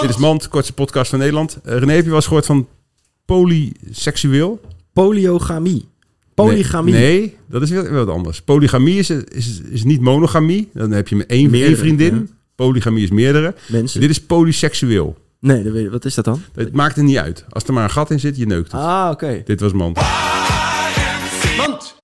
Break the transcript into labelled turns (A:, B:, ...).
A: Dit is Mand, kortste podcast van Nederland. Eh, René, heb je wel eens gehoord van polyseksueel?
B: Polyogamie. Polygamie.
A: Nee, nee, dat is weer wat anders. Polygamie is, is, is niet monogamie. Dan heb je maar één,
B: Meerdere,
A: één vriendin.
B: ja.
A: Polygamie is meerdere.
B: Mensen.
A: Dit is polyseksueel.
B: Nee, dat weet- wat is dat dan?
A: Het maakt er niet uit. Als er maar een gat in zit, je neukt het.
B: Ah, oké.
A: Dit was Mand.